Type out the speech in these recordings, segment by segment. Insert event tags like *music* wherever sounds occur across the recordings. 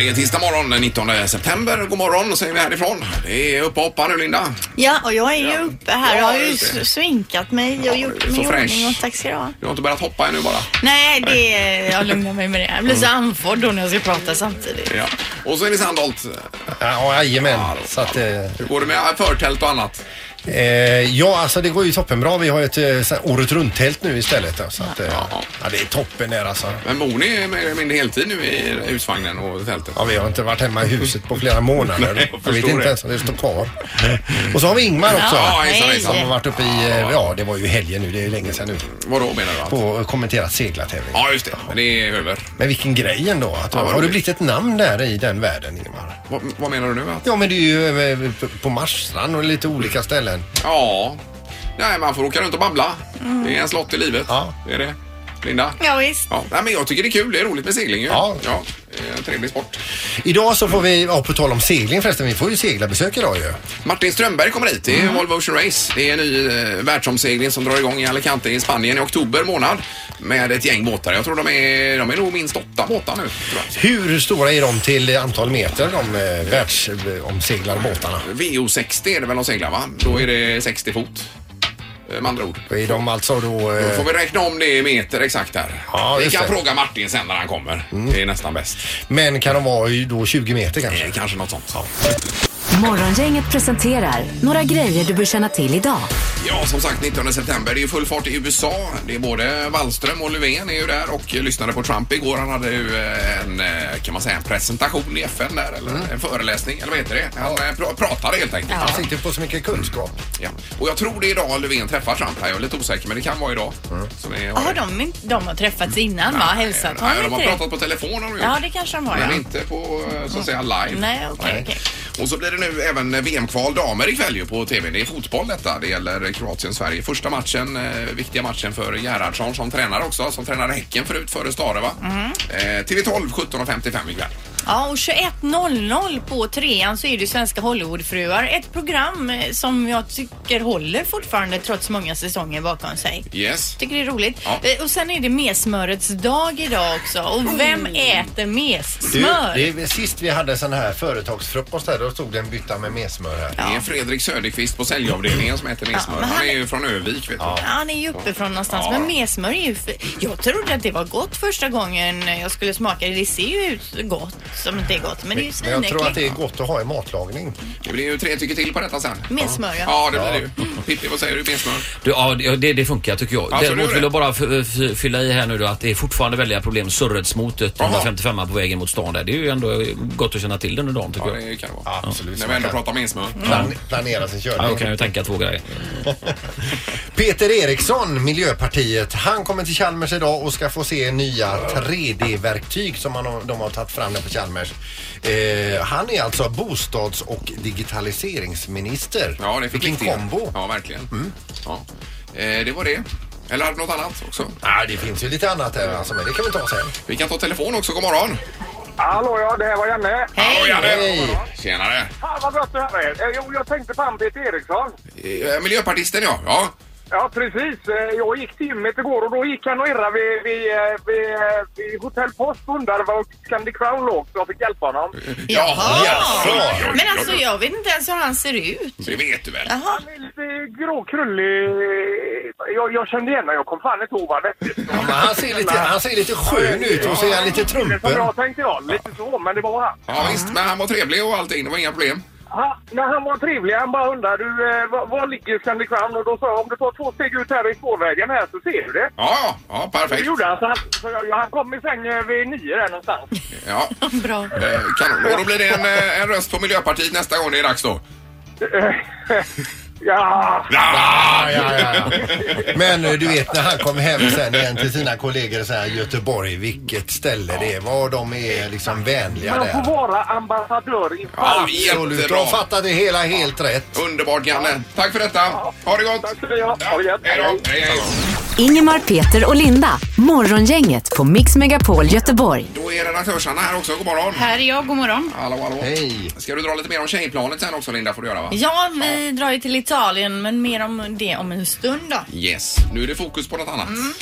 Det är tisdag morgon den 19 september. God morgon säger vi härifrån. Det är uppe och hoppar nu Linda. Ja, och jag är ju Ja. uppe här Ja, och har ju just det. s- svinkat mig och Ja, du gjort är mig så i fräsch. ordning och tack ska du ha. Du har inte börjat hoppa ännu bara. Nej, det, jag lugnar mig med det. Jag blir så Mm. andfådd då när jag ska prata samtidigt. Ja. Och så är det Sandholt. Ja, jajamän. Så att, eh, Hur går det med förtält och annat? eh, ja, alltså det går ju toppenbra. Vi har ju ett eh, så här året runt-tält nu istället. då, Så att, eh, ja, det är toppen här alltså. Men bor ni mer eller mindre heltid nu i husvagnen och tältet? Ja, vi har inte varit hemma i huset på flera månader. Nej, jag jag förstår vet inte det. ens om det står kvar. Och så har vi Ingmar också. Ja, hejsan, hej. Som har hejsan. varit uppe i, eh, ja det var ju helgen nu, det är länge sedan nu. Vadå menar du? Att? På eh, kommenterat seglartävling. Ja, just det. Men det är över. Men vilken grej ändå. Att, Ja, vad har du roligt. blivit ett namn där i den världen Ingmar? Vad, vad menar du nu? Att? Ja men det är ju eh, på Marstrand och lite olika ställen. Ja. Nej, man får åka runt och babbla. Det är en slott i livet. Ja. Det är det. Linda? Ja, visst. Ja, nej, men jag tycker det är kul. Det är roligt med segling ju. Ja. ja det är en trevlig sport. Idag så får vi, ja på tal om segling förresten, vi får ju seglarbesök idag ju. Martin Strömberg kommer hit. Mm. Det är Volvo Ocean Race. Det är en ny eh, världsomsegling som drar igång i Alicante i Spanien i oktober månad med ett gäng båtar. Jag tror de är, de är nog minst åtta båtar nu. Tror jag. Hur stora är de till antal meter, de eh, världsomseglade båtarna? VO60 är det väl de seglar va? Då är det 60 fot. eh, Med andra ord. Är de alltså då... Då Eh, får vi räkna om det i meter exakt här. Ja, vi just kan det. Mm. fråga Martin sen när han kommer. Det är nästan bäst. men kan de vara ju då 20 meter kanske? Eh, Kanske något sånt. Morgongänget presenterar några grejer du bör känna till idag. Ja, som sagt 19 september. Det är ju full fart i USA. Det är både Wallström och Löfven är ju där och lyssnade på Trump igår. Han hade ju eh, en, eh, kan man säga, en presentation i FN där eller en föreläsning eller vad heter det? Han eh, pra- pratade helt enkelt. Jag sitter på så mycket kunskap. Ja. Och jag tror det är idag Löfven träffar Trump här. Jag är lite osäker men det kan vara idag. Som är, Har de, inte- de har träffats innan va? Hälsat? Har Nej, de de har inte det? pratat på telefon har de gjort. Ja, det kanske de har Men ja. inte på eh, så att säga live. Nej, okej, Nej. okej. Och så blir det nu även VM-kval damer ikväll ju på TV. Det är fotboll detta. Det gäller Kroatien-Sverige. Första matchen, eh, viktiga matchen för Gerhardsson som tränare också. Som tränade Häcken förut, före Stare va? Mhm. Eh, TV12 17.55 ikväll. Ja, och 21.00 på trean så är det Svenska Hollywoodfruar. Ett program eh, som jag tycker håller fortfarande trots många säsonger bakom sig. Yes. Tycker det är roligt. Ja. Eh, Och sen är det messmörets dag idag också. Och vem äter Oh. Du, messmör? det är, sist vi hade sån här företagsfrukost här, då stod det en bytta med messmör här. Det är Fredrik Söderqvist på säljavdelningen som heter Nesmör. men Han är han- ju från Övik vet du. Han är ju uppifrån någonstans. Ja. Men messmör är ju... För... Jag trodde att det var gott första gången jag skulle smaka det. Det ser ju ut gott som inte är gott. Men det är ju Men jag tror att det är svinäckligt. gott att ha i matlagning. Det blir ju tre tycker till på detta sen. Messmör, ja. Ja, det blir det ju. Pippi, vad säger du? Messmör? Du, ja, det- det, det funkar tycker jag. Ja, så gör det. Däremot vill jag bara f- f- fylla i här nu då att det är fortfarande väldiga problem. Surretsmotet, Jaha. 155 på vägen mot stan där. Det är ju ändå gott att känna till den under dagen tycker Ja, jag. det kan det vara. Absolut. När vi ändå pratar messmör. Plan, planera sin körning. Ja, jag kan ju tänka två grejer. Peter Eriksson, Miljöpartiet, han kommer till Chalmers idag och ska få se nya 3D-verktyg som han har, de har tagit fram där på Chalmers. Eh, han är alltså bostads och digitaliseringsminister. Ja, det fick Vilken riktiga. kombo! Mm. Ja. Ja, verkligen. Ja. Eh, det var det. Eller hade du något annat också? det finns ju lite annat här alltså, men det kan vi ta sen. Vi kan ta telefon också. God morgon! Hallå ja, det här var Janne. Hallå, Janne! Hej. Tjenare! Fan vad gott det här är. Eh, Jo, jag tänkte på han Peter Eriksson. Eh, Miljöpartisten, ja. ja. Ja, precis. Eh, Jag gick till gymmet igår och då gick han och irrade vid, vid, eh, vid, eh, vid Hotell Post under var Candy Crown låg så jag fick hjälpa honom. Jaha! Jaså. Men alltså jag vet inte ens hur han ser ut. Det vet du väl? Jaha. Han är lite gråkrullig. eh, Jag, jag kände igen honom. Jag kom fan inte ihåg vad han hette. Ja, men han ser lite, han ser lite skön ut och så är han lite Det som trumpen. jag tänkte jag. Lite så, men det var han. Ja, visst. Men han var trevlig och allting. Det var inga problem. han när han var trevlig, han bara undrade du, eh, var, var ligger Candy Crown? Och då sa jag om du tar två steg ut här i spårvägen här så ser du det. Ja, ja, Det perfekt. gjorde han. Så han, så jag, han kom i säng eh, vid nio där någonstans. *laughs* Ja, Bra. eh, kanon. Och då blir det en, eh, en röst på Miljöpartiet nästa gång det är dags då. ja, Ja, Ja, ja, ja. Men eh, du vet när han kom hem sen igen till sina kollegor så här Göteborg, vilket ställe det är. Vad de är liksom vänliga man där. får vara ambassadör i ja fan. Absolut, du jättebra. har fattat det hela helt rätt. Underbart, Janne. Tack för detta. Ha det gott! Tack ska ni ha. Ha det gött. Hej då. Hej, hej. Ingemar, Peter och Linda. Morgongänget på Mix Megapol Göteborg. Då är redaktörs-Anna här också. God morgon. Här är jag, god morgon. Hallå, hallå. Hej. Ska du dra lite mer om tjejplanet sen också Linda får du göra va? Ja, vi drar ju till Italien, men mer om det om en stund då. Yes. Nu är det fokus på något annat. Mm.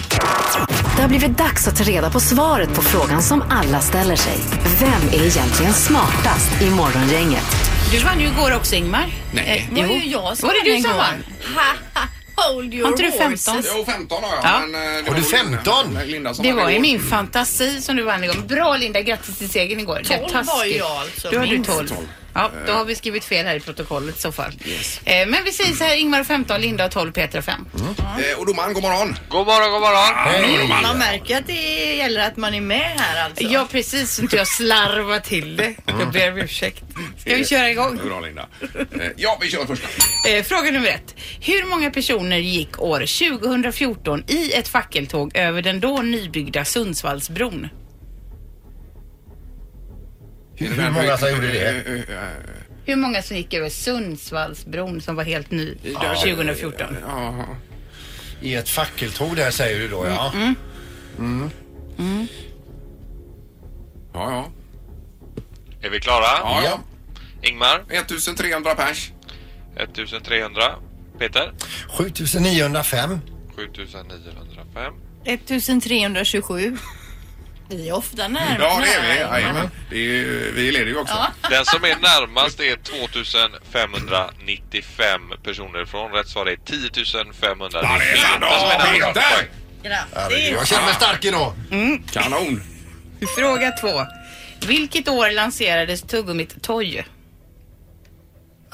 Det har blivit dags att ta reda på svaret på frågan som alla ställer sig. Vem är egentligen smartast i Morgongänget? Du vann ju igår också Ingmar. Eh, Nej. Det var Jo. ju jag som Var det du igår. som vann? Haha, *laughs* Hold your Har inte du horses. 15? Jo, 15 har jag. Ja. Men, eh, det Har du var ju 15? Linda- Linda som Det hade var ju igår. min fantasi som du vann igår. Bra Linda, grattis till segern igår. Det är 12 taskigt. var ju jag alltså, Då har du minst Eh. 12. 12. Ja, då har vi skrivit fel här i protokollet i så fall. Eh, Men vi säger så här, Ingmar har 15, Linda har 12, Peter har 5. Mm. Eh, och domaren, god morgon. Ah, God morgon, god morgon. Hallå, domaren. Man märker att det gäller att man är med här alltså. Ja, precis. Så inte jag slarvar till det. Mm. Jag ber om ursäkt. Ska vi köra igång? Det är Bra Linda. Eh, ja, vi kör första. Eh, fråga nummer ett. Hur många personer gick år 2014 i ett fackeltåg över den då nybyggda Sundsvallsbron? Hur många som gjorde det? Eh, eh, eh, Hur många som gick över Sundsvallsbron som var helt ny Ja. 2014? eh, Ja, I ett fackeltåg där säger du då ja. ja. ja. Är vi klara? ja, Ja. ja. Ingmar, 1300 pers. 1300. Peter, 7905. 7905. 1327. Vi är ofta nära. Mm, Ja, det är vi. Jajamän. Det är, ju- vi leder ju också. Den som är närmast är 2595 personer ifrån. Rätt svar är 10 500. Ja, det är sant. Den som är närmast Ja, har Peter! poäng. Grattis. Jag känner mig stark idag. Kanon. Fråga två. Vilket år lanserades tuggummit Toy?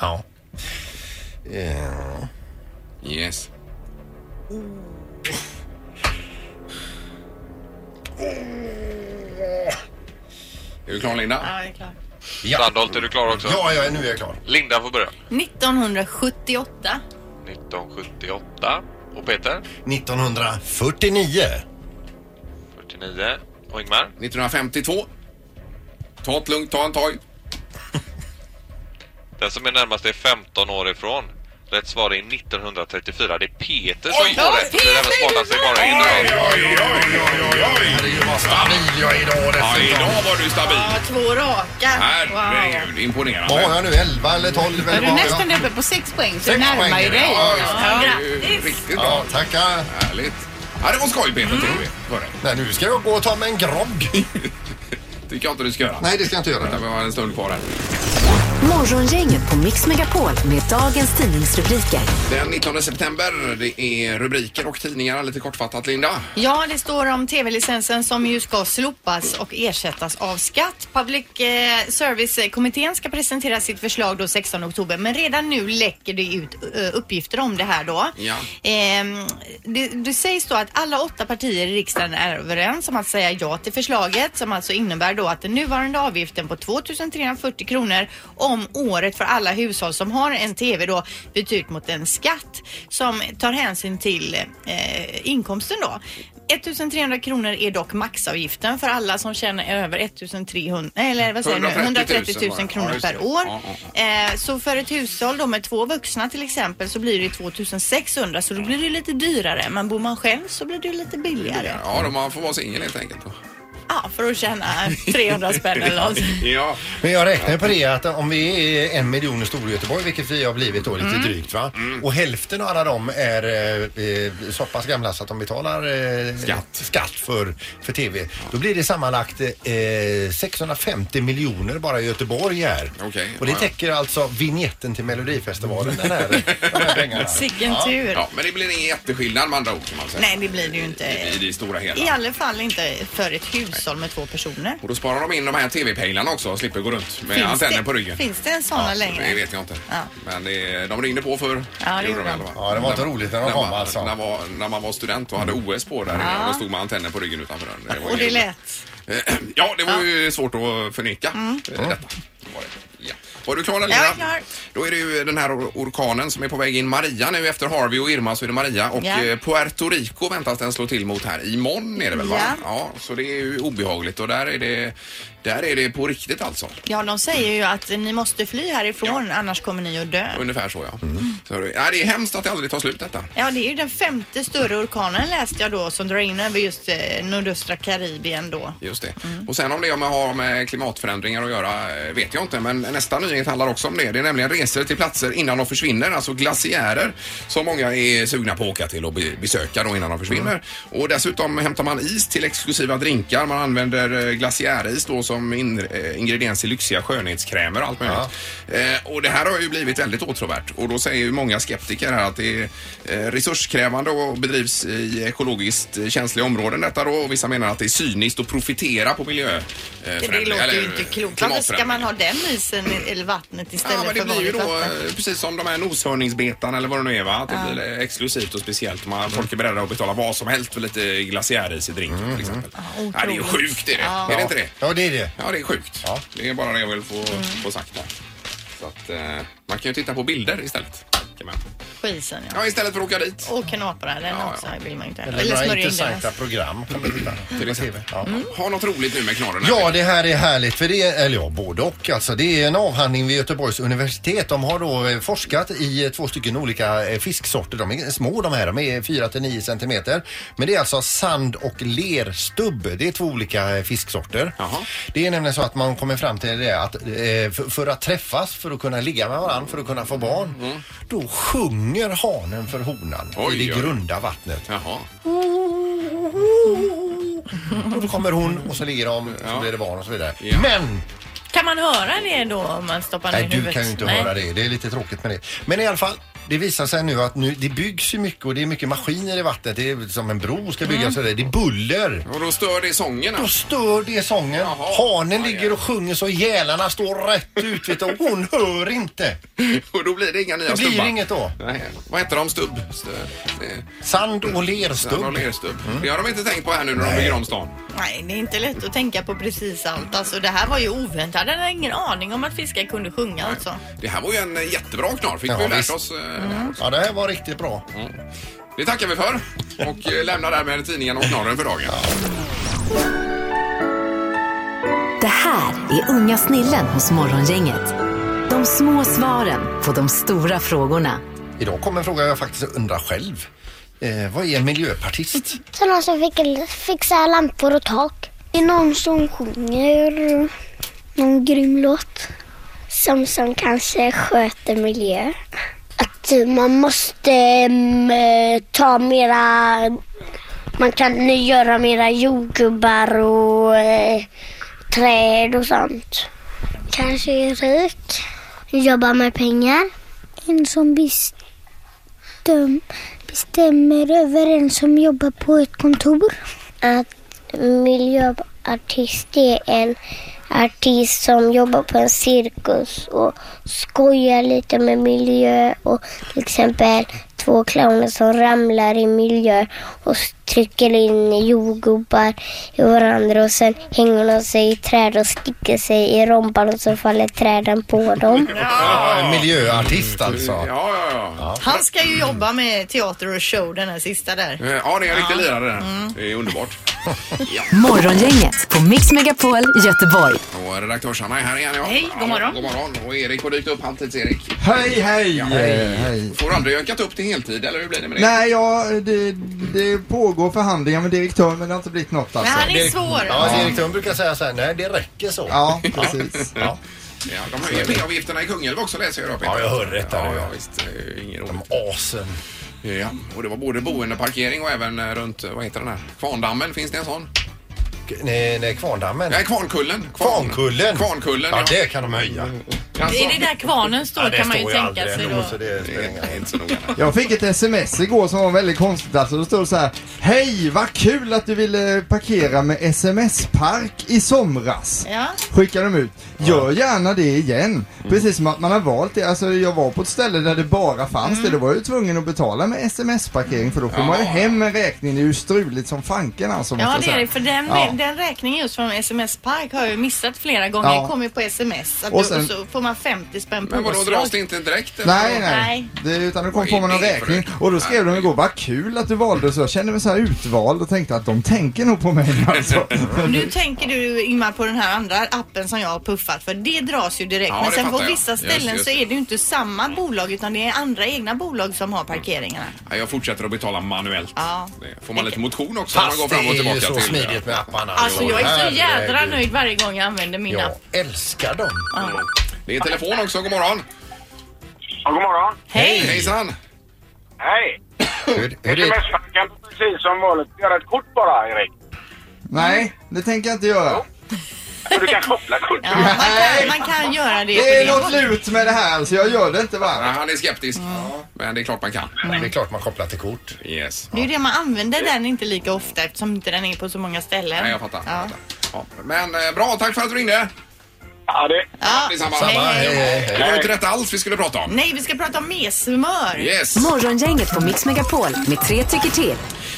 Ja. Eh, Yes. Är du klar Linda? Ja, det är klart. Ja. Sandholt, är du klar också? Ja, ja, nu är jag klar. Linda får börja. 1978. 1978. Och Peter? 1949. 49. Och Ingmar? 1952. Ta ett lugnt, ta en tag. Den som är närmast är 15 år ifrån. Rätt svar är 1934. Det är Peter som får rätt. Det är den smartaste bara idag. oj, oj, oj, oj. Herregud vad stabil jag är idag Ja, dessutom. idag var du stabil. Ja, två raka. Herregud, Vad har imponerande. jag nu? 11 eller 12 Är eller du vad har jag? nästan uppe på sex poäng så Sex du närmar poäng ju är det. dig. Ja, just Ja. det. Det är ju Riktigt Ja, Mm. bra. tackar. Härligt. Ja, det var skoj Peter, tror vi. Var det. Nej, nu ska jag gå och ta mig en grogg. tycker jag inte du ska göra. Nej, det ska jag inte Vänta, göra. vi har en stund kvar här. Morgongänget på Mix Megapol med dagens tidningsrubriker. Den 19 september, det är rubriker och tidningar lite kortfattat Linda. Ja, det står om tv-licensen som ju ska slopas och ersättas av skatt. Public eh, Service-kommittén ska presentera sitt förslag då 16 oktober, men redan nu läcker det ut eh, uppgifter om det här då. Ja. Ehm, det, det sägs då att alla åtta partier i riksdagen är överens om att säga ja till förslaget som alltså innebär då att den nuvarande avgiften på 2340 kronor om året för alla hushåll som har en TV då byts ut mot en skatt som tar hänsyn till eh, inkomsten då. 1300 kronor är dock maxavgiften för alla som tjänar över 1300, nej, eller vad säger jag nu, 130 000 130 000, Ja, kronor just det. per år. Ja, ja, ja. Eh, Så för ett hushåll då med två vuxna till exempel så blir det 2600 så då blir det lite dyrare. Men bor man själv så blir det lite billigare. Ja, då man får vara singel helt enkelt. då. Ja, för att tjäna 300 spänn eller något. Ja, Men jag räknar på det att om vi är en miljon i Storgöteborg, vilket vi har blivit då lite Mm. drygt va. Och hälften av alla dem är eh, eh, så pass gamla så att de betalar eh, Skatt. skatt för, för TV. Då blir det sammanlagt eh, 650 miljoner bara i Göteborg här. Okej, Och det ja, ja. täcker alltså vignetten till Melodifestivalen den *laughs* här, de här pengarna. Sicken tur. ja, men det blir ingen jätteskillnad med andra ord kan man säga. Nej, det blir det ju inte. I det stora I hela. alla fall inte för ett hushåll med två personer. Och då sparar de in de här TV-pejlarna också och slipper gå runt med Finns antennen det- på ryggen. Alltså, Finns det en sån längre? Det vet jag inte. Ja. Men det, de ringde på för Ja, det gjorde de. Ja, det var inte roligt när de kom, man, alltså. När, var, när man var student och hade OS på där inne, då stod man antennen på ryggen utanför den. var Och det ju- lät. *clears throat* Ja, det var ju svårt att förneka eh, detta. Det var det. Ja. Var du klar Alina? Mm. Jag är klar. Då är det ju den här or- orkanen som är på väg in. Maria nu efter Harvey och Irma så är det Maria och Ja. eh, Puerto Rico väntas den slå till mot här. Imorgon är det väl va? Ja. ja. Så det är ju obehagligt och där är det, där är det på riktigt alltså. Ja, de säger ju att ni måste fly härifrån annars kommer ni att dö. Ungefär så ja. Så, det- ja det är hemskt att det aldrig tar slut detta. Ja, det är ju den femte större orkanen läste jag då som drar in över just eh, nordöstra Karibien då. Just det. Och sen om det om jag har med klimatförändringar att göra eh, vet jag inte men nästa nyhet handlar också om det. Det är nämligen resor till platser innan de försvinner, alltså glaciärer som många är sugna på att åka till och be- besöka då innan de försvinner. Och dessutom hämtar man is till exklusiva drinkar. Man använder eh, glaciäris då som in, eh, ingrediens i lyxiga skönhetskrämer och allt möjligt. Eh, och det här har ju blivit väldigt åtråvärt och då säger ju många skeptiker här att det är eh, resurskrävande och bedrivs i ekologiskt eh, känsliga områden detta då och vissa menar att det är cyniskt att profitera på miljö. eh, Det, det låter ju inte klokt. Varför ska man ha den isen i- eller vattnet istället Ja, men det för blir ju vanligt då vatten? eh, precis som de här noshörningsbetan eller vad det nu är va? Att det blir eh, exklusivt och speciellt. Man, Folk är beredda att betala vad som helst för lite glaciäris i drinken till exempel. ja, det är ju otroligt. sjukt är det. Är det inte det? Ja, det är det. Ja, det är sjukt. Ja. Det är bara det jag vill få, få sagt där. Så att, eh, man kan ju titta på bilder istället. Kan man. På isen ja. Ja, istället för att åka dit. Och kanapera den Ja, ja. också vill man ju inte. Eller några in den. intressanta program. kan man hitta på Till exempel. TV. Ja. Ha något roligt nu med knorren. här. Ja, det här är härligt för det är, eller ja, både och alltså. Det är en avhandling vid Göteborgs universitet. De har då eh, forskat i eh, två stycken olika eh, fisksorter. De är små de här, de är 4 till 9 centimeter. Men det är alltså sand och lerstubb. Det är två olika eh, fisksorter. Jaha. Det är nämligen så att man kommer fram till det att eh, för, för att träffas, för att kunna ligga med varandra, för att kunna få barn, då sjunger hanen för honan Mm. Oj, i det oj. grunda vattnet. Jaha. Och då kommer hon och så ligger de, så Ja. blir det barn och så vidare. Ja. Men Kan man höra det då om man stoppar Nej, ner du huvudet? kan ju inte höra det. Det är lite tråkigt med det. Men i alla fall, det visar sig nu att nu, det byggs ju mycket och det är mycket maskiner i vattnet. Det är som en bro ska byggas och det, det är buller. Och då stör det sången Då alltså. stör det sången. Jaha. Hanen Aj, aj. ligger och sjunger så gälarna står rätt ut vet du, och hon hör inte. *laughs* Och då blir det inga nya Det blir stubbar. inget då. Nej. Vad heter de? Stubb? Stö- eh, Sand och Stubb? lerstubb. Lerstubb. Mm. Det har de inte tänkt på här nu när de bygger om stan. Nej, det är inte lätt att tänka på precis allt. Alltså, det här var ju oväntat. Jag hade ingen aning om att fiskar kunde sjunga alltså. Det här var ju en eh, jättebra knorr. Fick Ja, vi lärt visst. Mm. oss. eh, Ja, det här var riktigt bra. Det tackar vi för. Och eh, lämnar därmed tidningen och knorren för dagen. Det här är unga snillen hos Morgongänget. De små svaren på de stora frågorna. Idag kommer en fråga jag faktiskt undrar själv. Eh, vad är en miljöpartist? Sådana som fick, fixar lampor och tak. Det är någon som sjunger någon grym låt. Som, som kanske sköter miljö. Att eh, man måste mm, eh, ta mera... Man kan nu göra mera jordgubbar och eh, träd och sånt. Kanske är rik. Jobbar med pengar. En som bist bestäm, bestämmer över en som jobbar på ett kontor? Att miljöartist är en artist som jobbar på en cirkus och skojar lite med miljö och till exempel två clowner som ramlar i miljö och s- trycker in jordgubbar i varandra och sen hänger de sig i träd och sticker sig i rumpan och så faller träden på dem. Ja, en miljöartist alltså. Ja, ja, ja. ja. Han ska ju jobba med teater och show den här sista där. Eh, Ja, det är en riktig lirare det här. Det är underbart. ja. Morgongänget på Mix Megapol Göteborg. Och redaktörs-Hanna är här igen. Ja. Hej, god Ja, morgon. God morgon. Och Erik har dykt upp, halvtids-Erik. Hej, hej! hej. Eh, hej. Får aldrig ökat upp till heltid, eller hur blir det med det? Nej, ja, eh, det, det pågår förhandlingar med direktören men det har inte blivit något Men alltså. han är Det- svår. Ja, direktören brukar säga så här, nej det räcker så. Ja, precis. Ja. Ja, de höjer miljöavgifterna i Kungälv också läser jag då, Peter. Ja, jag hörde detta, Ja, ja. ja, visst. Det är ju Ingen roligt. Asen. Ja, och det var både boendeparkering och även eh, runt, eh, vad heter den här, Kvarndammen, finns det en sån? Nej, nej, Kvarndammen. Nej, Kvarnkullen. Kvarn- Kvarnkullen. Kvarnkullen, ja. det kan de höja. Alltså, Är det där kvarnen står Mm. kan man ju tänka sig då. så det det spelar ingen är roll. inte så noga. Jag fick ett sms igår som var väldigt konstigt alltså. Då stod det så här. Hej, vad kul att du ville parkera med sms-park i somras. Ja. Skickar de ut. Gör gärna det igen. Precis som att man har valt det. Alltså jag var på ett ställe där det bara fanns Mm. det. Då var jag ju tvungen att betala med sms-parkering för då får man ju hem en räkning. Det är ju struligt som fanken alltså. måste Ja jag det är säga. det, för den, Ja. den räkningen just från SMS Park har jag ju missat flera gånger. Ja. Jag kommer på SMS. Att Och och, sen- och så får man 250 spänn på Men vadå, påslag. dras det inte direkt? eller? Nej, nej. Det, utan du kom på med någon räkning. Och då skrev de igår, vad kul att du valde så. Jag kände mig så här utvald och tänkte att de tänker nog på *laughs* mig alltså. Nu tänker du Ingmar på den här andra appen som jag har puffat för. Det dras ju direkt. Ja, men det sen på fattar jag. vissa Just, ställen just. så är det ju inte samma bolag utan det är andra egna bolag som har parkeringarna. Ja, jag fortsätter att betala manuellt. Ja. Det Får man lite motion också Fast när man går fram och det är ju tillbaka? så smidigt med apparna. Alltså jag är så jädra Herregud. nöjd varje gång jag använder min Ja. app. Älskar dem. Ja. Det är telefon också, god morgon. Ja, god morgon. Hej! Hejsan! Hej! Sms-facken precis som vanligt. Gör ett kort bara, Erik. Nej, det tänker jag inte göra. Du kan koppla kort. Nej, man kan göra det. Det är på något lurt med det här så jag gör det inte va? Han är skeptisk. Mm. Men det är klart man kan. Det är klart man kopplar till kort. Yes. Det är ju det man använder den inte lika ofta eftersom inte den är på så många ställen. Nej, jag fattar. Ja. Ja. Men eh, bra, tack för att du ringde. Ja, det... Ja. Detsamma. Samma, hej, hej, Mm. Det var ju inte detta alls vi skulle prata om. Nej, vi ska prata om messmör. Morgongänget på Mix Megapol med tre tycker till.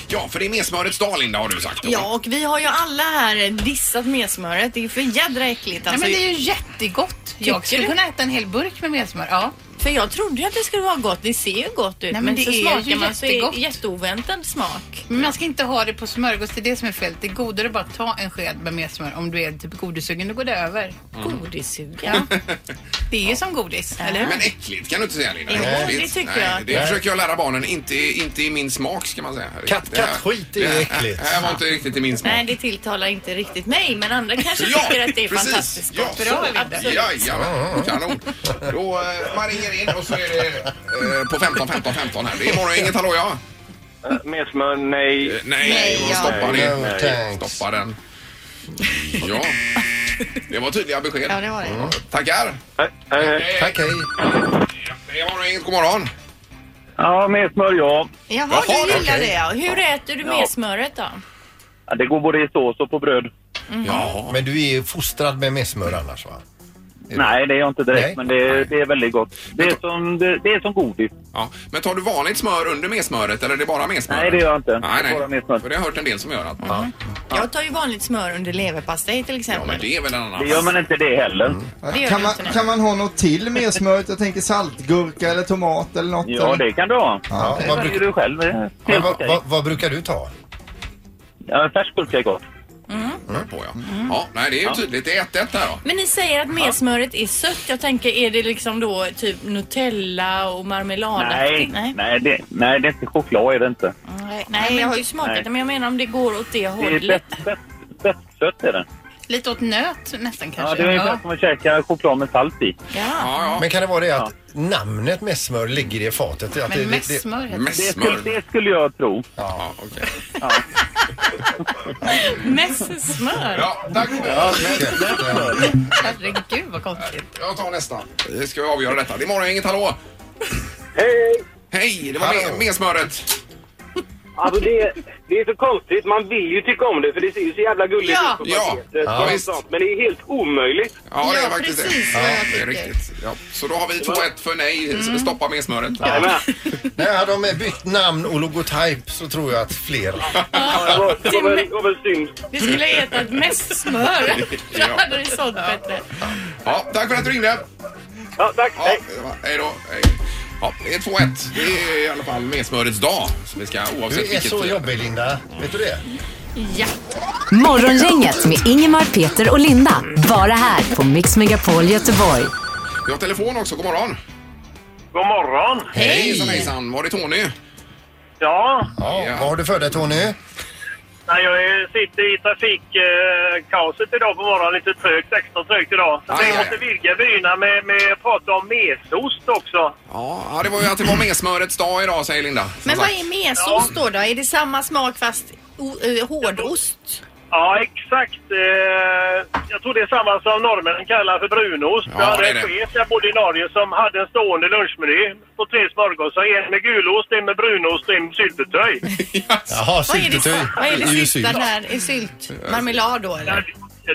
Ja, för det är messmörets dag, Linda, har du sagt. Ja, och vi har ju alla här dissat messmöret. Det är ju för jädra äckligt Nej, alltså. men det är ju jättegott. Jag skulle kunna äta en hel burk med messmör. Ja. För jag trodde ju att det skulle vara gott. Det ser ju gott ut. Nej, men men det så är ju smakar man så är jättegott. det jätteoväntad smak. Men man ska inte ha det på smörgås, det är det som är fel. Det är godare att bara ta en sked med mer smör om du är typ godissugen, då går det över. Mm. Godissugen? *laughs* Det är ju som godis, eller hur? Men äckligt kan du inte säga, Linda. Jo, det Äckligt. tycker Nej, jag. Det Nej. försöker jag lära barnen. Inte, inte i min smak, ska man säga. Katt- Det här- kattskit är det här- äckligt. Det här var inte riktigt i min smak. Nej, det tilltalar inte riktigt mig, men andra kanske Ja, tycker att det är precis. fantastiskt Ja, gott. så. Absolut. Mm. Jajamän, kanon. Då, eh, man ringer in och så är det eh, på 15, 15, 15 här. Det är morgon, inget hallå ja. Med smör, nej. Nej, ja. stoppa det. No, thanks. stoppa *laughs* den. Ja, det var tydliga besked. Ja, det var det. Mm. Tackar. Tack, hej. Det är morgon, inget god morgon. Ja, med smör, ja. Jaha, du Jaha, gillar okej. det ja. Hur äter du Ja. messmöret då? Ja, Det går både i sås och på bröd. Ja. Men du är ju fostrad med messmör annars va? Nej, det är jag inte direkt, Nej. men det är, det är väldigt gott. Det är som, det, det är som godis. Ja, men tar du vanligt smör under med smöret eller är det bara med smöret? Nej, det gör jag inte. Nej, nej. Bara med För det har jag hört en del som gör att man... Jag tar ju vanligt smör under leverpastej till exempel. Men det är väl en annan... Det gör man inte det heller. Det gör Kan det man, inte, nej. kan man ha något till med smöret? Jag tänker saltgurka eller tomat eller något. Ja, eller? det kan du ha. Ja. det väljer du själv. Det är helt vad, okej. vad, vad brukar du ta? Ja, färsk gurka är gott. Hör på, ja. Mm. ja. Nej, det är ju tydligt. Det är 1-1 där då. Men ni säger att messmöret är sött. Jag tänker, är det liksom då typ Nutella och marmelad? Nej, nej. det, nej, det är inte choklad är det inte. Nej, nej, jag har ju smakat Nej. det, men jag menar om det går åt det Det är hållet. bett- bett- bettsött är det. Lite åt nöt nästan Ja, kanske. det är ungefär som att käka choklad med salt i. Men kan det vara det att namnet messmör ligger i fatet? Att Men det, det, messmör heter det. Det skulle, det skulle jag tro. Ja, okej. Messmör? Ja, tack. Herregud vad konstigt. Jag tar nästa. Det ska vi avgöra detta. Det är morgon, inget hallå. Hej! Hej, det var med, med smöret. Alltså det, det är så konstigt, man vill ju tycka om det för det ser ju så jävla gulligt Ja. ut på Ja. paketet. Ja, och allt visst. sånt, Men det är helt omöjligt. Ja, det är faktiskt det. vad Ja, jag det är tycker. riktigt. Ja. Så då har vi 2-1 för nej. Stoppa med smöret. Ja. Nej, hade de bytt namn och logotyp så tror jag att fler... Ja, det var väl- det var väl synd. Vi skulle ha ätit mest smör. *laughs* Då hade det sålt bättre. Ja, tack för att du ringde. Ja, tack. Ja, hej då. Hej. Ja, det är 2-1. Det är i alla fall medsmörets dag. Så vi ska oavsett Du är vilket... så jobbig Linda. Vet du det? Ja. Morgongänget med Ingemar, Peter och Linda. Bara här på Mix Megapol Göteborg. Vi har telefon också. God morgon. God morgon. Hej! Hejsan, hejsan. Var det Tony? Ja, Ja. Vad har du för dig Tony? nej, jag är- sitter i trafikkaoset idag på morgonen. Lite trögt, extra trögt idag. Så vi måste vidga vyerna med, med att prata om mesost också. Ja, ja, det var ju att det var medsmörets dag idag, säger Linda. Som Men vad sagt. är mesost då, då? Är det samma smak fast o- eh, hårdost? Ja, exakt. Eh, Jag tror det är samma som norrmännen kallar för brunost. Ja, jag hade det är en det. chef jag bodde i Norge som hade en stående lunchmeny på tre smörgåsar. En med gulost, en med brunost och en med syltetöj. *laughs* Jaha, Vad är det, syltetyg. vad är Det är ju det sista sylt. där? Är sylt? Marmelad då eller?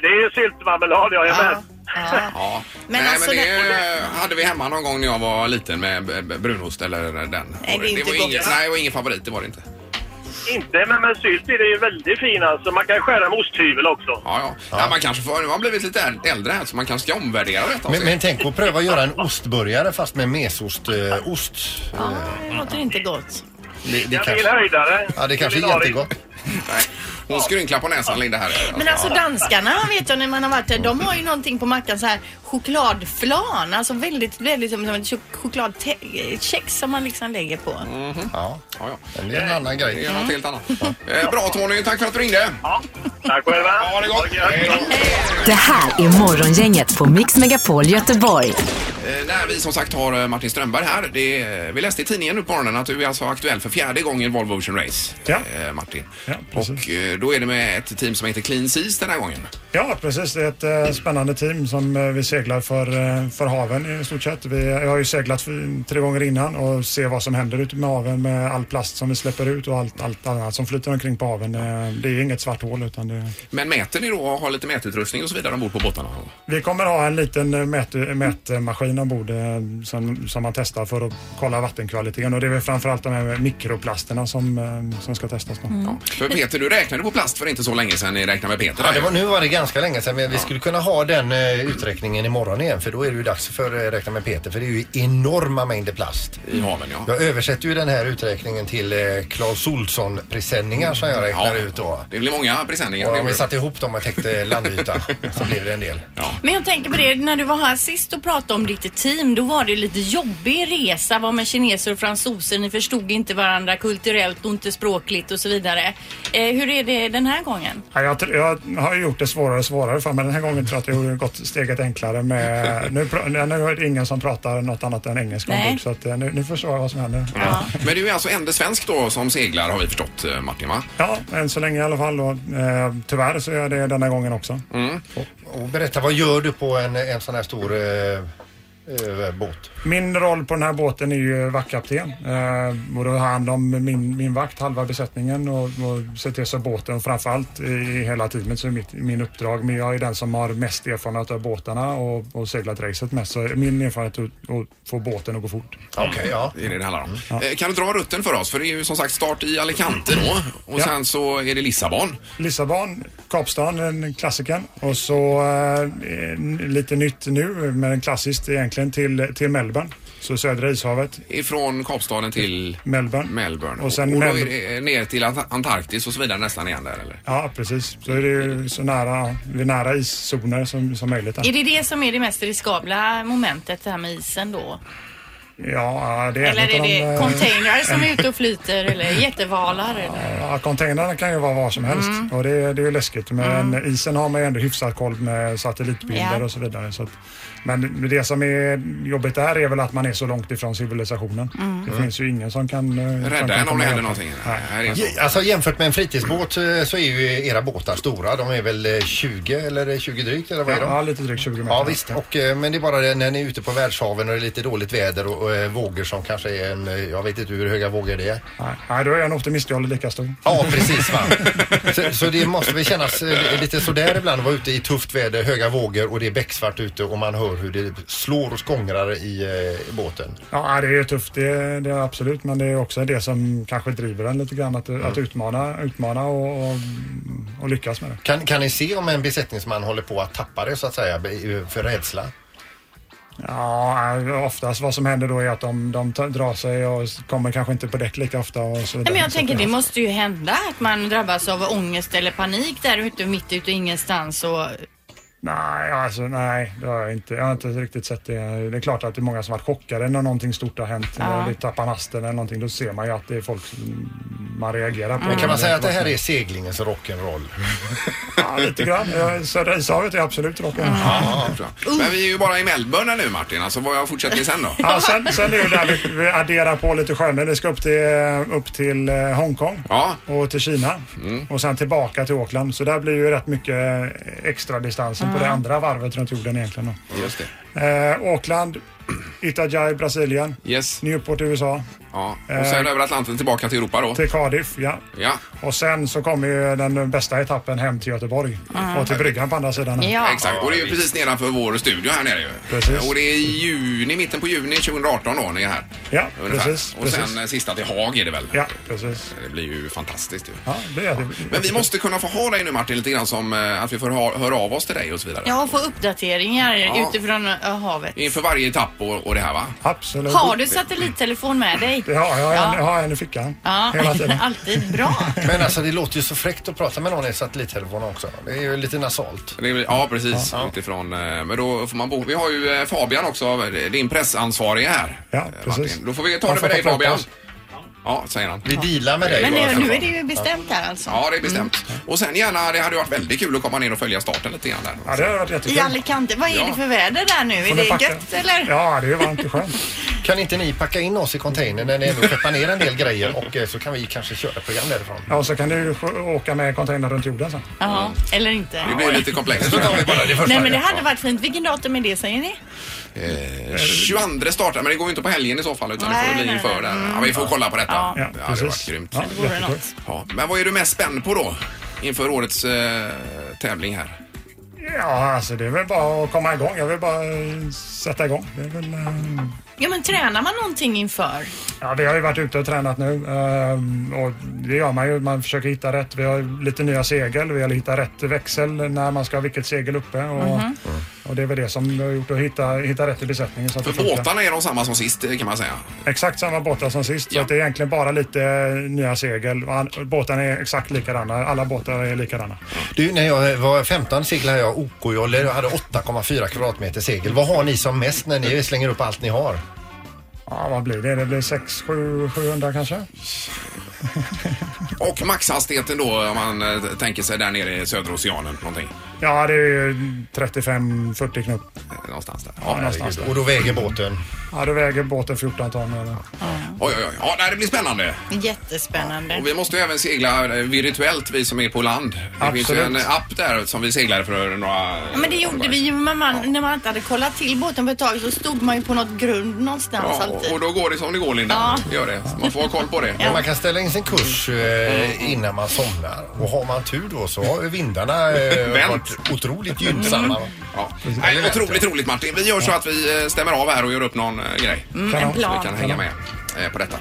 Det är syltmarmelad, ja, jag Ah. med. Ja. Men Nej, alltså men det, det- och hade vi hemma någon gång när jag var liten med b- b- brunost eller den. Nej, det är inte var gott, ingen, va? nej, det var ingen favorit, det var det inte. inte, men med sylt är det ju väldigt fin alltså. Man kan skära med osthyvel också. Ja, ja. Ja, man kanske får, man har blivit lite äldre här så man kanske ska omvärdera detta. och Men, se. men tänk på att pröva att göra en ostburgare fast med mesost. Eh, ost. Ja, det låter inte gott. Det, det Jag kanske- vill höjdare. Ja, det kanske är Kulinarisk. jättegott. Nej, hon skrynklar på näsan Linda här. Men alltså danskarna vet jag när man har varit där, de har ju någonting på mackan så här chokladflan, alltså väldigt, väldigt som som ett chok- chokladkex som man liksom lägger på. Mm. Ja, ja, ja. Det är en annan grej. Det är något helt annat. Eh, Bra Tony, tack för att du ringde. Ja, tack själva. Ha det gott. Hej då. Det här är Morgongänget på Mix Megapol Göteborg. Eh, När vi som sagt har eh, Martin Strömberg här. Det, är- vi läste i tidningen nu på morgonen att du är alltså aktuell för fjärde gången Volvo Ocean Race. eh, Martin. och eh, då är det med ett team som heter Clean Seas den här gången. Ja, precis. Det är ett eh, spännande team som eh, vi seglar för, eh, för haven i stort sett. Vi, jag har ju seglat för, tre gånger innan och ser vad som händer ute med haven med all plast som vi släpper ut och allt, allt annat som flyter omkring på haven. Eh, det är ju inget svart hål utan det, Men mäter ni då och har lite mätutrustning och så vidare ombord på båtarna? Vi kommer ha en liten eh, mät, mätmaskin ombord eh, som, som man testar för att kolla vattenkvaliteten och det är väl framförallt de här mikroplasterna som, eh, som ska testas. Mm. Då. För Peter, du räknade på plast för inte så länge sedan ni räknade med Peter. Ja, det var, nu var det ganska länge sedan, men vi skulle kunna ha den eh, uträkningen imorgon igen för då är det ju dags för eh, Räkna med Peter för det är ju enorma mängder plast. I haven, ja. Jag översätter ju den här uträkningen till eh, Clas Ohlson-presenningar som jag räknar Mm, Ja, ut då. Det blir många presenningar. Och Det om vi blir- satte ihop dem och täckte *laughs* landyta så blev det en del. Men jag tänker på det, när du var här sist och pratade om ditt team, då var det ju lite jobbig resa, var med kineser och fransoser, ni förstod inte varandra kulturellt och inte språkligt och så vidare. Eh, hur är det den här gången? Ja, jag, tr- jag har ju gjort det svårare och svårare för mig. Den här gången tror jag att jag har gått steget enklare med... Nu, pr- nu är det ingen som pratar något annat än engelska Nej. ombord så att, eh, nu, nu förstår jag vad som händer. Ja. Men du är alltså enda svensk då som seglar har vi förstått eh, Martin va? Ja, än så länge i alla fall. Och, eh, tyvärr så är det denna gången också. Och, och berätta, vad gör du på en, en sån här stor eh, eh, båt? Min roll på den här båten är ju vaktkapten. Eh, och då har jag hand om min, min vakt, halva besättningen och, och ser till så båten och framförallt i, i hela teamet så är mitt, min uppdrag. Men jag är den som har mest erfarenhet av båtarna och, och seglat racet mest. Så min erfarenhet är att, att få båten att gå fort. Det är det det handlar om. Eh, Kan du dra rutten för oss? För det är ju som sagt start i Alicante då och Ja. sen så är det Lissabon. Lissabon, Kapstaden, den klassikern. Och så eh, n- lite nytt nu, men klassiskt egentligen, till, till Melbourne. Så södra ishavet. Ifrån Kapstaden till Melbourne. Melbourne. Och sen och då är Melbourne. det eh, ner till Ant- Antarktis och så vidare nästan igen där eller? Ja, precis. Så är det ju så nära, vi är nära iszoner som, som möjligt. där. Är det det som är det mest riskabla momentet, det här med isen då? Ja, det är Eller en är utav de, det eh, containrar som är ute och flyter eller jättevalar? Eller? Ja, containrarna kan ju vara var som helst Mm. och det, är- det är ju läskigt. Men isen har man ju ändå hyfsat koll med satellitbilder Ja. och så vidare. Så att, men det som är jobbigt där är väl att man är så långt ifrån civilisationen. Mm. Det Mm. finns ju ingen som kan... eh, som kan komma hjälpa. Nej. Ja, Alltså jämfört med en fritidsbåt eh, så är ju era båtar stora. De är väl eh, 20 eller eh, 20 drygt eller vad är de? Ja, lite drygt 20 meter. Ja visst, och, eh, men det är bara det när ni är ute på världshaven och det är lite dåligt väder och, och eh, vågor som kanske är en, eh, jag vet inte hur höga vågor det är. Nej, nej, då är jag en optimist, jag håller lika stor. Ja precis va. så, så det måste väl kännas eh, lite sådär ibland att vara ute i tufft väder, höga vågor och det är becksvart ute och man hör hur det slår och skångrar i, eh, i båten. Ja, det är ju tufft, det, det är absolut. Men det är också det som kanske driver en lite grann, att, Mm. att utmana, utmana och, och, och lyckas med det. Kan, kan ni se om en besättningsman håller på att tappa det så att säga be- eh, för rädsla? Ja, oftast vad som händer då är att de, de tar- drar sig och s- kommer kanske inte på däck lika ofta och så vidare. Nej, men jag Så tänker det måste ju hända att man drabbas av ångest eller panik där ute mitt ute i ingenstans och Nej, alltså nej, det har jag inte. Jag har inte riktigt sett det. Det är klart att det är många som varit chockade när någonting stort har hänt. Ja. När vi tappar masten eller någonting. Då ser man ju att det är folk som man reagerar på. Men kan man säga att det här är seglingens rock'n'roll? Ja, lite grann. Ja, Södra ishavet är absolut rocken. Ja, Men vi är ju bara i Melbourne nu Martin, alltså vad fortsätter ni sen då? Ja, sen, sen är det där vi, vi adderar på lite skönare. Det ska upp till, upp till eh, Hongkong och till Kina Mm. och sen tillbaka till Auckland. Så där blir ju rätt mycket eh, extra distansen på det Ja. andra varvet runt jorden egentligen. Just det. *clears throat* då. Eh, Auckland, Itajai, Brasilien, Yes. Newport, USA. Ja. Och sen Eh, över Atlanten tillbaka till Europa då. Till Cardiff, ja. Ja. Och sen så kommer ju den bästa etappen hem till Göteborg Mm. och till bryggan på andra sidan. här. Exakt, och det är ju precis nedanför vår studio här nere ju. Precis. Och det är i juni, mitten på juni 2018 då ni är här. Ja, Ungefär. precis, Och sen precis. eh, sista till Haag är det väl? Ja, precis. Det blir ju fantastiskt ju. Ja, det är det. Men vi måste kunna få ha dig nu Martin lite grann som eh, att vi får ha, höra av oss till dig och så vidare. Ja, få uppdateringar Ja. Mm. utifrån eh, havet. Inför varje etapp och, och det här va? Absolut. Har du satellittelefon med dig? Ja, jag har en- Ja. jag har en i fickan. Ja, Hela *laughs* tiden. alltid bra. Men alltså det låter ju så fräckt att prata med någon i satellittelefon också. Det är ju lite nasalt. Det är- Ja, precis. Utifrån, eh, men då får man bo. Vi har ju eh, Fabian också, din pressansvarige här. Ja, precis. Då får vi ta Han det får med dig prata Fabian. oss. Ja, säger han. Vi dealar med dig. Men nu, nu är det ju bestämt här alltså. Ja, det är bestämt. Och sen gärna, det hade ju varit väldigt kul att komma ner och följa starten lite grann där. Ja, det hade varit jättekul. I Alicante, vad är Ja. det för väder där nu? Är Får vi det packa? gött eller? Ja, det är varmt och skönt. Kan inte ni packa in oss i containern när ni ändå skeppar ner en del grejer och eh, så kan vi kanske köra ett program därifrån. Ja, så kan du sj- åka med containern runt jorden sen. Ja, eller inte. Det blir lite komplext. Nej men det hade varit fint. Vilken datum är det säger ni? Eh, 22 startar, men det går ju inte på helgen i så fall utan det Nej, får bli nej, inför där. Ja, vi får kolla på detta. Ja, det hade varit grymt. Ja, Det vore jättekul. något. Ja, men vad är du mest spänd på då? Inför årets eh, tävling här. Ja, alltså det är väl bara att komma igång. Jag vill bara eh, sätta igång. Det är väl, eh, Ja men tränar man någonting inför? ja, vi har ju varit ute och tränat nu ehm, och det gör man ju. Man försöker hitta rätt. Vi har lite nya segel. Vi har hittat rätt växel när man ska ha vilket segel uppe. Och, Mhm. och det är väl det som vi har gjort. Att hitta, hitta rätt i besättningen. Så att För det funkar. båtarna är de samma som sist eh, kan man säga. Exakt samma båtar som sist. Så att det är egentligen bara lite eh, nya segel. Och an- Båtarna är exakt likadana. Alla båtar är likadana. Du, när jag var 15 seglade jag OK-jolle och hade 8,4 kvadratmeter segel. Vad har ni som mest när ni slänger upp allt ni har? Ja, vad blir det? Det blir 600-700 kanske? Och maxhastigheten då om man eh, tänker sig där nere i södra oceanen någonting. Ja, det är ju 35-40 knop. eh, Någonstans där. Ja, någonstans där. Och då väger båten? Ja, då väger båten 14 ton. Eller? Oj, oj, oj. Ja, nej, det blir spännande. Jättespännande. Och vi måste ju även segla eh, virtuellt, vi som är på land. Det finns ju en Absolut. app där som vi seglade för några... Ja, men det gjorde vi ju men man, när man inte hade kollat till båten på ett tag så stod man ju på något grund någonstans Ja, alltid. och, och då går det som det går, Linda. Ja. Det Gör det. Man får ha koll på det. Men Man kan ställa in sin kurs Mm. eh, innan man somnar och har man tur då så har vindarna eh, *laughs* Vänt. varit otroligt gynnsamma. Mm. Ja. Nej, otroligt roligt Martin. Vi gör så att vi eh, stämmer av här och gör upp någon eh, grej. Mm, en så plan. vi kan hänga med eh, på detta.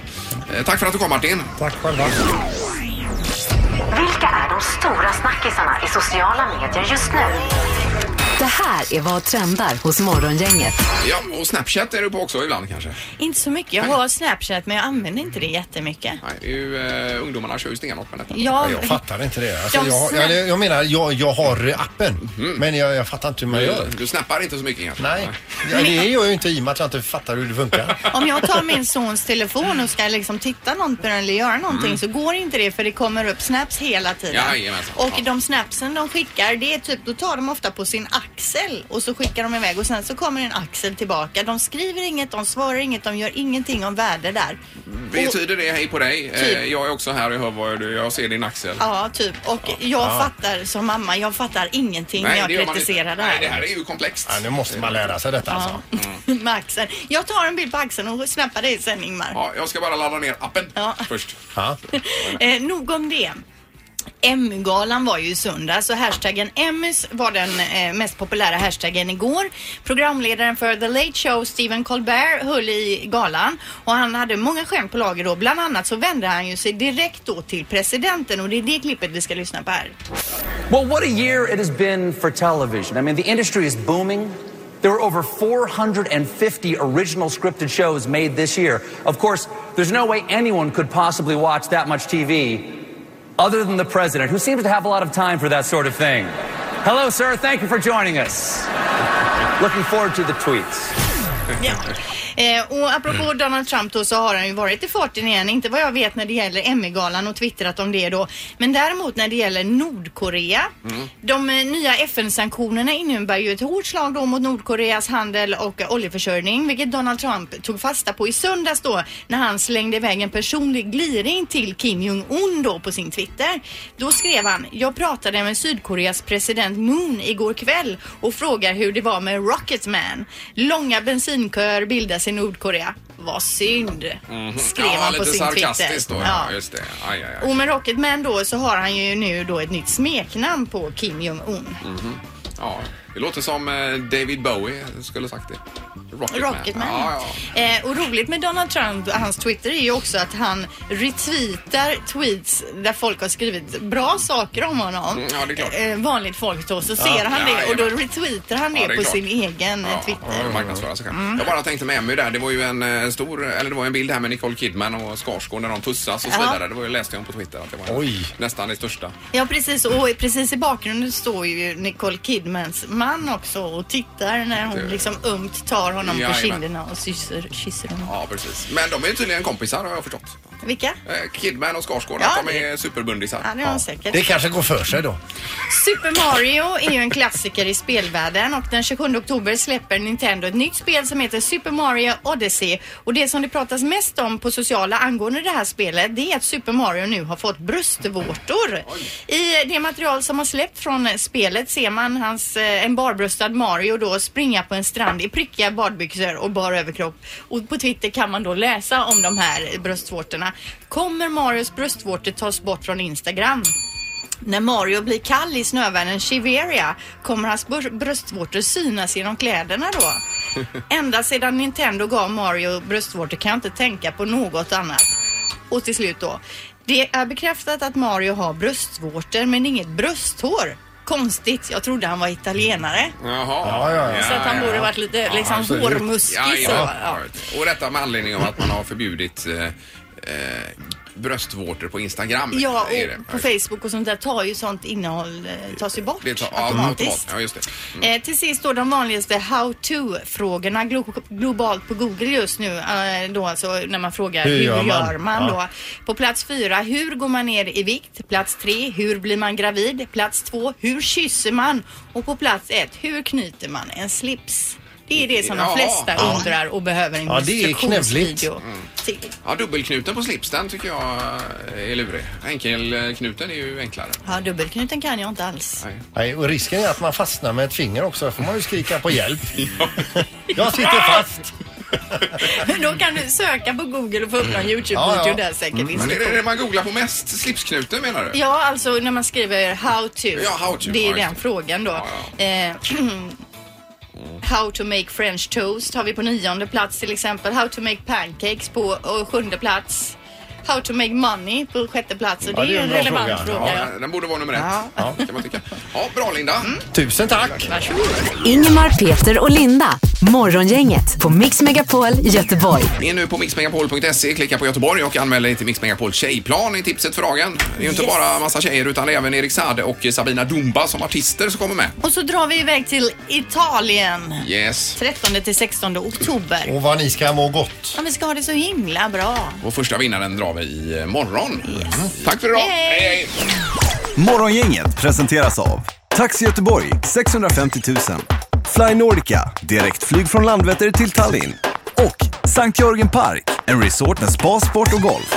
Eh, Tack för att du kom Martin. Tack själva. Vilka är de stora snackisarna i sociala medier just nu? Det här är vad trendar hos Morgongänget. Ja, och Snapchat är du på också ibland kanske? Inte så mycket. Jag har Snapchat men jag använder inte det jättemycket. Nej, det är ju, eh, ungdomarna kör ju stenhårt med detta. Ja. Jag fattar inte det. Alltså, Jag jag, snä- Mm-hmm. jag, jag menar, jag, jag har appen men jag, jag fattar inte hur man gör. Du snappar inte så mycket egentligen. Nej, ja, det gör jag ju inte i och med att jag inte fattar hur det funkar. Om jag tar min sons telefon och ska liksom titta något på den eller göra någonting så går inte det för det kommer upp snaps hela tiden. Mm. Jajamensan. och de snapsen de skickar det är typ, då tar de ofta på sin axel och så skickar de iväg och sen så kommer en axel tillbaka. De skriver inget, de svarar inget, de gör ingenting om värde där. Vi tyder det, hej på dig. Eh, Typ. Jag är också här och hör vad du, jag ser din axel. Ja, typ. Och jag Ja. fattar som mamma, jag fattar ingenting Nej, när det gör jag man inte. kritiserar det här. Nej, det här är Mm. ju komplext. nu måste man lära sig detta alltså. *laughs* Med axeln. Jag tar en bild på axeln och snappar dig sen Ingmar. Ja, jag ska bara ladda ner appen först. Eh, nog om det. Emmy-galan var ju i söndags och hashtaggen Emmys var den eh, mest populära hashtaggen igår. Programledaren för The Late Show, Stephen Colbert, höll i galan och han hade många skämt på lager då. Bland annat så vände han ju sig direkt då till presidenten och det är det klippet vi ska lyssna på här. Well, what a year it has been for television. I mean, the industry is booming. There were over 450 original scripted shows made this year. Of course, there's no way anyone could possibly watch that much TV other than the president, who seems to have a lot of time for that sort of thing. Hello, sir. Thank you for joining us. Looking forward to the tweets. Eh, och apropå Donald Trump då så har han ju varit i farten igen. Inte vad jag vet när det gäller Emmy-galan och twittrat om det då. Men däremot när det gäller Nordkorea. De eh, nya FN-sanktionerna innebär ju ett hårt slag då mot Nordkoreas handel och eh, oljeförsörjning, vilket Donald Trump tog fasta på i söndags då när han slängde iväg en personlig gliring till Kim Jong-Un då på sin Twitter. Då skrev han, jag pratade med Sydkoreas president Moon igår kväll och frågar hur det var med Rocketman. Långa bensinköer bildas i Nordkorea. Vad synd, Mhm. skrev ja, han på lite sin sarkastiskt Twitter. Då, ja. just det. Aj, aj, aj. Och med Rocketman då så har han ju nu då ett nytt smeknamn på Kim Jong-Un. Mhm. Ja, det låter som eh, David Bowie skulle sagt det. Rocketman. Rocketman. Ja, ja. Eh, och roligt med Donald Trump och hans Twitter är ju också att han retweetar tweets där folk har skrivit bra saker om honom. Mm, ja, det är klart. Eh, vanligt folk då, så Ja. ser han det Ja, och då retweetar han det, Ja, det är på klart. sin egen eh, Twitter. Mm. Ja, marknadsföra sig själv. Jag bara tänkte med Emmy där, det var ju en eh, stor, eller det var en bild här med Nicole Kidman och Skarsgård när de pussas och så Ja. vidare. Det var ju, läste jag om på Twitter att det var nästan det största. Ja precis och precis i bakgrunden står ju Nicole Kidmans man också och tittar när hon Det- liksom ömt tar honom på Jajamän. kinderna och kysser, kysser honom. Ja, precis. Men de är ju tydligen kompisar har jag förstått. Vilka? Eh, Kidman och Skarsgård, Ja, att de är superbundisar. Ja, det har de säkert. Det kanske går för sig då. Super Mario är ju en klassiker i spelvärlden och den 27 oktober släpper Nintendo ett nytt spel som heter Super Mario Odyssey. Och det som det pratas mest om på sociala angående det här spelet det är att Super Mario nu har fått bröstvårtor. I det material som har släppt från spelet ser man hans, eh, en barbröstad Mario då springa på en strand i prickiga badbyxor och bar överkropp. Och på Twitter kan man då läsa om de här bröstvårtorna. Kommer Marios bröstvårtor tas bort från Instagram? När Mario blir kall i snövärlden Shiveria kommer hans br- bröstvårtor synas genom kläderna *laughs* då. Ända sedan Nintendo gav Mario bröstvårtor kan jag inte tänka på något annat. Och till slut då. Det är bekräftat att Mario har bröstvårtor men inget brösthår. Konstigt, jag trodde han var italienare. Jaha. Ja, ja, ja. Så att han borde varit lite liksom absolut. hårmuskig Ja, ja. så. Och detta med anledning av att man har förbjudit eh, eh, bröstvårtor på Instagram. Ja, är det. och på Facebook och sånt där tar ju sånt innehåll, eh, tas ju bort. Det tar, ja, automatiskt. automat. ja, just det. Mm. Eh, till sist då de vanligaste how to-frågorna glo- globalt på Google just nu. Eh, då alltså när man frågar hur, gör man, då? Ja. På plats fyra, hur går man ner i vikt? Plats tre, hur blir man gravid? Plats två, hur kysser man? Och på plats ett, hur knyter man en slips? Det är det som Ja. de flesta Ja. undrar och behöver en Ja, det är instruktionsvideo knövligt. Mm. till. Ja, dubbelknuten på slips, den tycker jag eh, är lurig. Enkelknuten är ju enklare. Ja, dubbelknuten kan jag inte alls. Nej, och risken är att man fastnar med ett finger också. Då får man ju skrika på hjälp. Jag sitter fast. *laughs* Då kan du söka på Google och få upp Mm. någon YouTube-video där säkert. Men är det det man googlar på mest? Slipsknuten menar du? Ja, alltså när man skriver how to. Ja, how to, det ja, är just den det. frågan då. Eh, *clears throat* How to make french toast har vi på nionde plats till exempel. How to make pancakes på eh, sjunde plats. How to make money på sjätte plats. Och det är ju en bra relevant fråga. ja. Ja, den borde vara nummer ett, kan man tycka. Ja, bra Linda. Tusen tack. Ingemar, Peter och Linda. Morgongänget på Mix Megapol Göteborg. Ni är nu på mixmegapol.se, klicka på Göteborg och anmäl dig till Mix Megapol Tjejplan i tipset för dagen. Det är ju inte Yes. bara massa tjejer utan även Erik Saade och Sabina Dumba som artister som kommer med. Och så drar vi iväg till Italien. Yes. 13 till 16 oktober. Och vad ni ska må gott. Ja, vi ska ha det så himla bra. Och första vinnaren drar vi i eh, morgon. Tack för idag. Mm. Hej, hej. Morgongänget presenteras av Taxi Göteborg 650 000 Fly Nordica, direktflyg från Landvetter till Tallinn och Sankt Jörgen Park, en resort med spa, sport och golf.